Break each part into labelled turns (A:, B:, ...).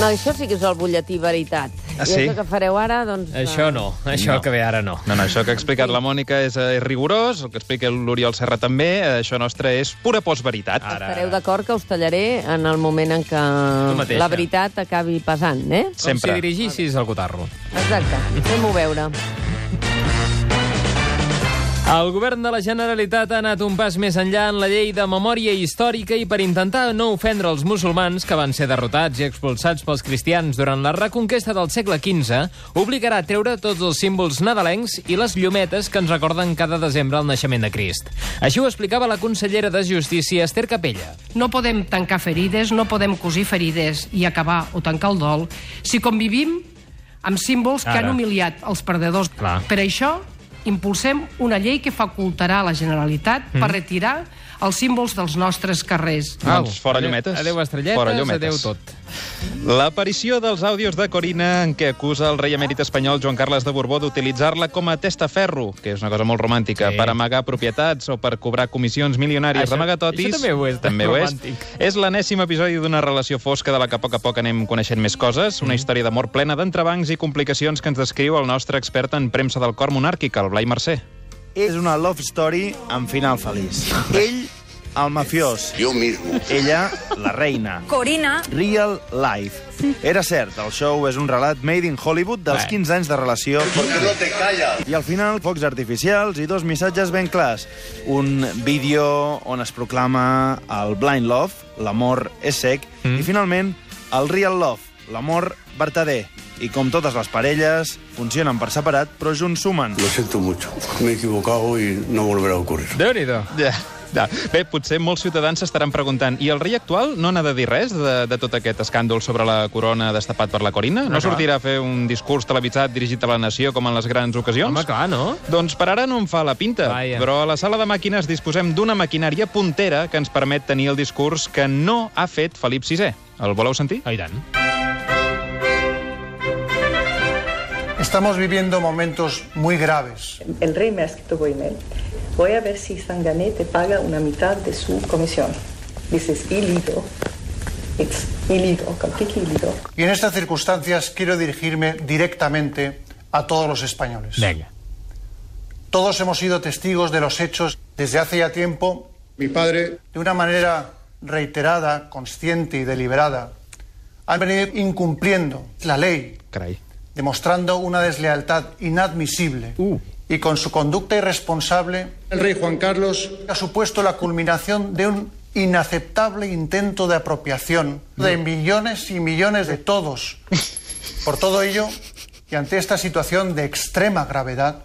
A: No, això sí que és el butlletí veritat.
B: Ah,
A: I
B: sí?
A: això que fareu ara, doncs... eh,
C: Això no, això
B: No.
C: que ve ara no.
B: No, no, això que ha explicat la Mònica és, eh, és rigorós, el que explica l'Oriol Serra també, eh, això nostre és pura postveritat.
C: Ara.
A: Estareu d'acord que us tallaré en el moment en què
C: mateixa.
A: la veritat acabi pesant, eh?
C: Com
B: Sempre.
C: si dirigissis el cotarro.
A: Exacte. Fem-ho veure.
C: El govern de la Generalitat ha anat un pas més enllà en la llei de memòria històrica i per intentar no ofendre els musulmans que van ser derrotats i expulsats pels cristians durant la reconquesta del segle XV, obligarà a treure tots els símbols nadalencs i les llumetes que ens recorden cada desembre el naixement de Crist. Així ho explicava la consellera de Justícia, Esther Capella.
D: No podem tancar ferides, no podem cosir ferides i acabar o tancar el dol si convivim amb símbols que
C: Ara.
D: han humiliat els perdedors.
C: Clar.
D: Per això impulsem una llei que facultarà a la Generalitat mm. per retirar els símbols dels nostres carrers.
B: Doncs fora llumetes.
C: Adéu, estrelletes,
B: Fora llumetes.
C: adéu tot.
B: L'aparició dels àudios de Corina en què acusa el rei emèrit espanyol Joan Carles de Borbó d'utilitzar-la com a testaferro, que és una cosa molt romàntica,
C: Sí.
B: sí. per amagar propietats o per cobrar comissions milionàries
C: Això-
B: d'amagatotis...
C: això també ho és, de
B: També ho és.
C: romàntic.
B: És l'anèssim episodi d'una relació fosca de la que a poc a poc anem coneixent més coses,
C: Mm.
B: una història d'amor plena d'entrebancs i complicacions que ens descriu el nostre expert en premsa del cor monàrquic, el Blai Mercè.
E: És una love story amb final feliç. Ell, el mafiós.
F: Yo mismo.
E: Ella, la reina.
G: Corina,
E: Real Life. Era cert, el show és un relat made in Hollywood dels 15 anys de relació.
F: no te callas?
E: I al final, focs artificials i dos missatges ben clars. Un vídeo on es proclama el blind love, l'amor és sec, mm. i finalment el real love, l'amor verdader. I com totes les parelles, funcionen per separat, però junts sumen.
F: Lo siento mucho. Me he equivocado y no volverá a ocurrir.
C: Déu-n'hi-do.
B: Ja, ja. Bé, potser molts ciutadans s'estaran preguntant i el rei actual no n'ha de dir res de, de tot aquest escàndol sobre la corona destapat per la Corina? No sortirà a fer un discurs televisat dirigit a la nació com en les grans ocasions?
C: Home, clar, no?
B: Doncs per ara no em fa la pinta,
C: Vaja.
B: però a la sala de màquines disposem d'una maquinària puntera que ens permet tenir el discurs que no ha fet Felip VI. El voleu sentir?
C: Oh, i tant.
H: Estamos viviendo momentos muy graves.
I: El rey me ha escrito por email. Voy a ver si Sangané te paga una mitad de su comisión. Dices, ilido. It's ilido, completely ilido.
H: Y en estas circunstancias quiero dirigirme directamente a todos los españoles.
C: Vinga.
H: Todos hemos sido testigos de los hechos desde hace ya tiempo. Mi padre. De una manera reiterada, consciente y deliberada, han venido incumpliendo la ley,
B: Carai.
H: demostrando una deslealtad inadmisible. Y con su conducta irresponsable. El rey Juan Carlos. Ha supuesto la culminación de un inaceptable intento de apropiación de millones y millones de todos. Por todo ello, y ante esta situación de extrema gravedad,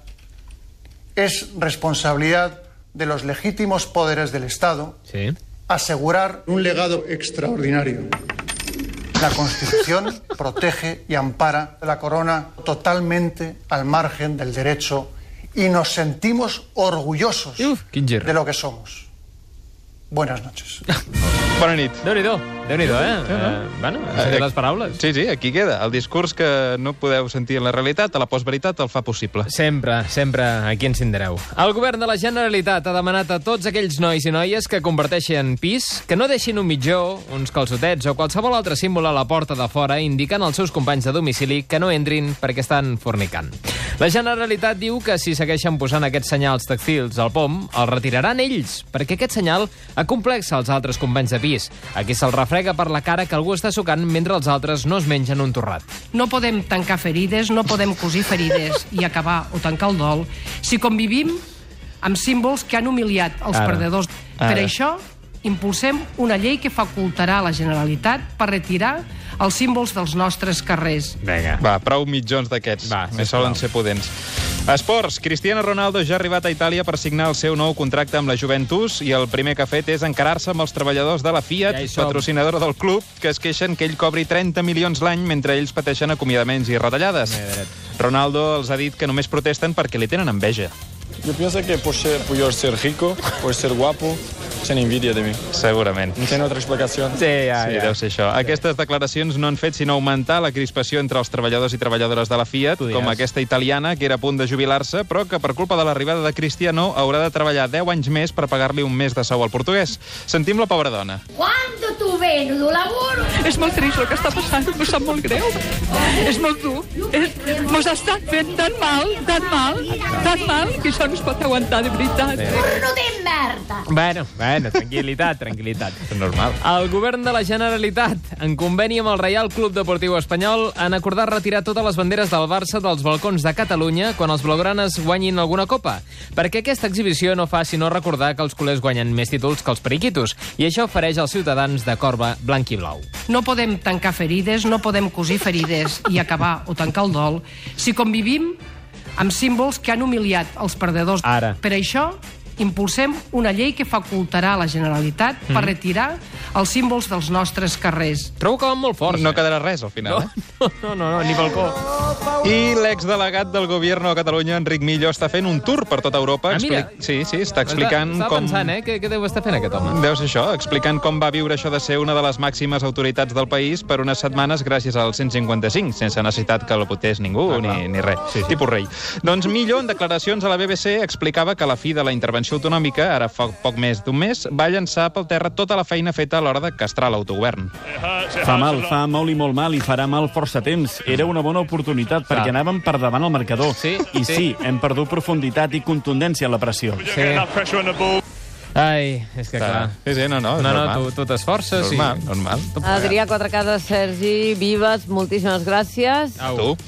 H: es responsabilidad de los legítimos poderes del Estado
C: Sí.
H: asegurar
J: Un legado extraordinario.
H: la Constitución, protege y ampara la corona totalmente al margen del derecho y nos sentimos orgullosos
C: Uf, quin gir.
H: de lo que somos. Buenas noches.
B: Bona nit.
C: Déu-n'hi-do, Déu-n'hi-do, eh? eh bueno, eh, les paraules.
B: Sí, sí, aquí queda. El discurs que no podeu sentir en la realitat, a la postveritat el fa possible.
C: Sempre, sempre aquí ens tindreu. El govern de la Generalitat ha demanat a tots aquells nois i noies que comparteixen pis que no deixin un mitjó, uns calçotets o qualsevol altre símbol a la porta de fora indicant als seus companys de domicili que no entrin perquè estan fornicant. La Generalitat diu que si segueixen posant aquests senyals tàctils al pom, el retiraran ells, perquè aquest senyal acomplexa els altres companys de pis, a qui se'l refrega per la cara que algú està sucant mentre els altres no es mengen un torrat.
D: No podem tancar ferides, no podem cosir ferides i acabar o tancar el dol si convivim amb símbols que han humiliat els
C: Ara.
D: perdedors.
C: Ara.
D: Per això impulsem una llei que facultarà a la Generalitat per retirar els símbols dels nostres carrers.
C: Vinga.
B: Va, prou mitjons d'aquests.
C: Va,
B: Més
C: sisplau.
B: solen ser pudents. Esports. Cristiano Ronaldo ja ha arribat a Itàlia per signar el seu nou contracte amb la Juventus i el primer que ha fet és encarar-se amb els treballadors de la Fiat,
C: Ja hi som.
B: patrocinadora del club, que es queixen que ell cobri 30 milions l'any mentre ells pateixen acomiadaments i retallades. Ronaldo els ha dit que només protesten perquè li tenen enveja.
J: Yo pienso que por ser, por yo ser rico, por ser guapo,
G: Se n'invidia de mi.
B: Segurament.
G: No tiene otra explicación.
C: Sí, ja,
B: Sí,
C: ja.
B: deu ser això. Aquestes declaracions no han fet sinó augmentar la crispació entre els treballadors i treballadores de la Fiat,
C: Tu diràs.
B: com aquesta italiana que era a punt de jubilar-se, però que per culpa de l'arribada de Cristiano haurà de treballar 10 anys més per pagar-li un mes de sou al portuguès. Sentim la pobra dona.
K: Quando tu vedi lo lavoro...
L: És molt trist el que està passant, m'ho sap molt greu. És molt dur. És- Mos està fent tan mal, tan mal, tan mal, que això no es pot aguantar, de veritat.
K: Burro de merda!
C: Bueno, bueno, tranquil·litat, tranquil·litat.
B: Normal.
C: El govern de la Generalitat, en conveni amb el Reial Club Deportiu Espanyol, han acordat retirar totes les banderes del Barça dels balcons de Catalunya quan els blaugranes guanyin alguna copa, perquè aquesta exhibició no fa sinó recordar que els culers guanyen més títols que els periquitos, i això ofereix als ciutadans de corba blanc i blau.
D: No podem tancar ferides, no podem cosir ferides i acabar o tancar el dol si convivim amb símbols que han humiliat els perdedors.
C: Ara.
D: Per això impulsem una llei que facultarà a la Generalitat mm. per retirar els símbols dels nostres carrers.
C: Trobo que van molt forts.
B: No
C: eh?
B: quedarà res, al final, eh?
C: no, no, no, no, ni balcó.
B: I l'exdelegat del govern a Catalunya, Enric Millo, està fent un tour per tota Europa.
C: Ah, mira. Doncs
B: Expli- Sí, sí, està explicant
C: Estava
B: com...
C: pensant, eh? Què, què deu estar fent aquest home?
B: Deu ser això, explicant com va viure això de ser una de les màximes autoritats del país per unes setmanes gràcies al 155, sense necessitat que el votés ningú
C: Ah, clar.
B: ni, ni res, sí, sí. tipus rei. Doncs millor, en declaracions a la BBC, explicava que la fi de la intervenció autonòmica, ara fa poc més d'un mes, va llançar pel terra tota la feina feta a l'hora de castrar l'autogovern.
M: Fa mal, fa molt i molt mal, i farà mal força temps. Era una bona oportunitat, perquè anàvem per davant al marcador.
C: Sí,
M: I
C: sí.
M: sí, hem perdut profunditat i contundència en la pressió.
C: Sí. Ai, és que clar.
B: Sí, sí, no, no, és
C: No, no,
B: normal.
C: tu, tu t'esforces.
B: normal,
C: I...
B: normal.
A: Adrià Quatrecades, Sergi, Vives, moltíssimes gràcies.
B: Tu?